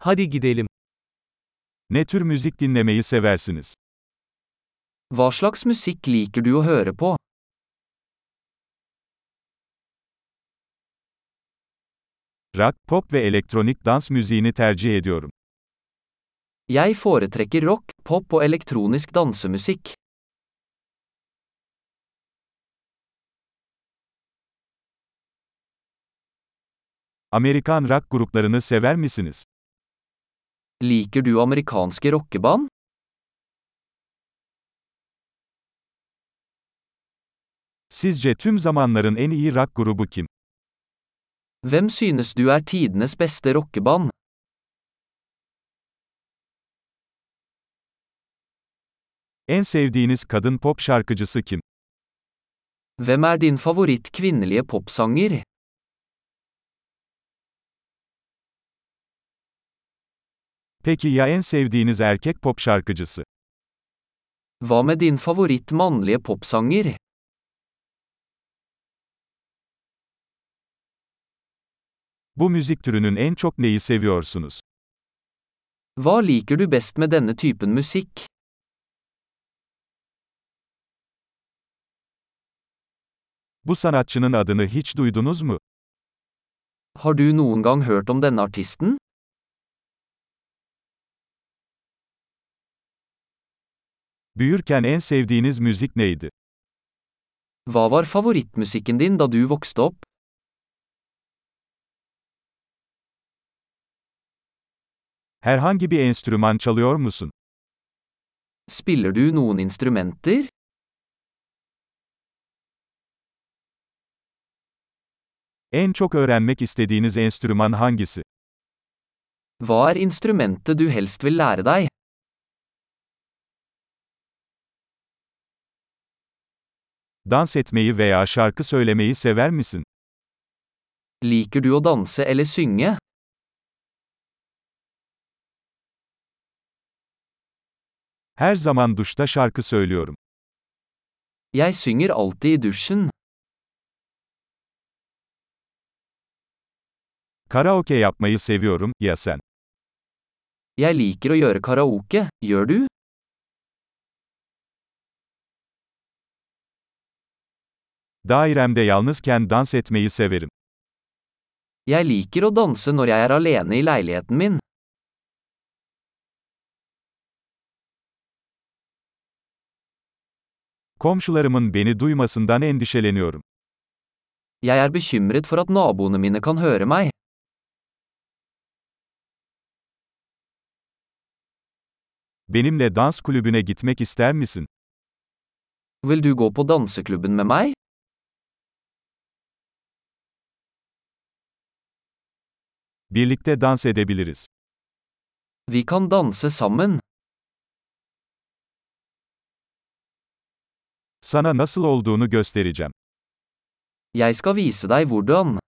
Hadi gidelim. Ne tür müzik dinlemeyi seversiniz? Hva slags musikk liker du å høre på? Rock, pop ve elektronik dans müziğini tercih ediyorum. Jeg foretrekker rock, pop og elektronisk dansemusikk. Amerikan rock gruplarını sever misiniz? Liker du amerikanske rockeband? Sizce tüm zamanların en iyi rock grubu kim? Hvem synes du er tidenes beste rockeband? En sevdiğiniz kadın pop şarkıcısı kim? Hvem er din favoritt kvinnelige popsanger? Peki ya en sevdiğiniz erkek pop şarkıcısı? Hva med din favoritt mannlige popsanger? Bu müzik türünün en çok neyi seviyorsunuz? Hva liker du best med denne typen musikk? Bu sanatçının adını hiç duydunuz mu? Har du noen gang hørt om denne artisten? Büyürken en sevdiğiniz müzik neydi? Hva var favorittmusikken din da du vokste opp? Herhangi bir enstrüman çalıyor musun? Spiller du noen instrumenter? En çok öğrenmek istediğiniz enstrüman hangisi? Hva er instrumentet du helst vil lære deg? Dans etmeyi veya şarkı söylemeyi sever misin? Liker du å danse eller synge? Her zaman duşta şarkı söylüyorum. Jeg synger alltid i dusjen. Karaoke yapmayı seviyorum, ya sen? Jeg liker å gjøre karaoke, gjør du? Dairemde yalnızken dans etmeyi severim. Jeg liker å danse når jeg er alene i leiligheten min. Komşularımın beni duymasından endişeleniyorum. Jeg er bekymret for at naboene mine kan høre meg. Benimle dans kulübüne gitmek ister misin? Vil du gå på danseklubben med meg? Birlikte dans edebiliriz. Vi kan danse sammen. Sana nasıl olduğunu göstereceğim. Jeg skal vise deg hvordan.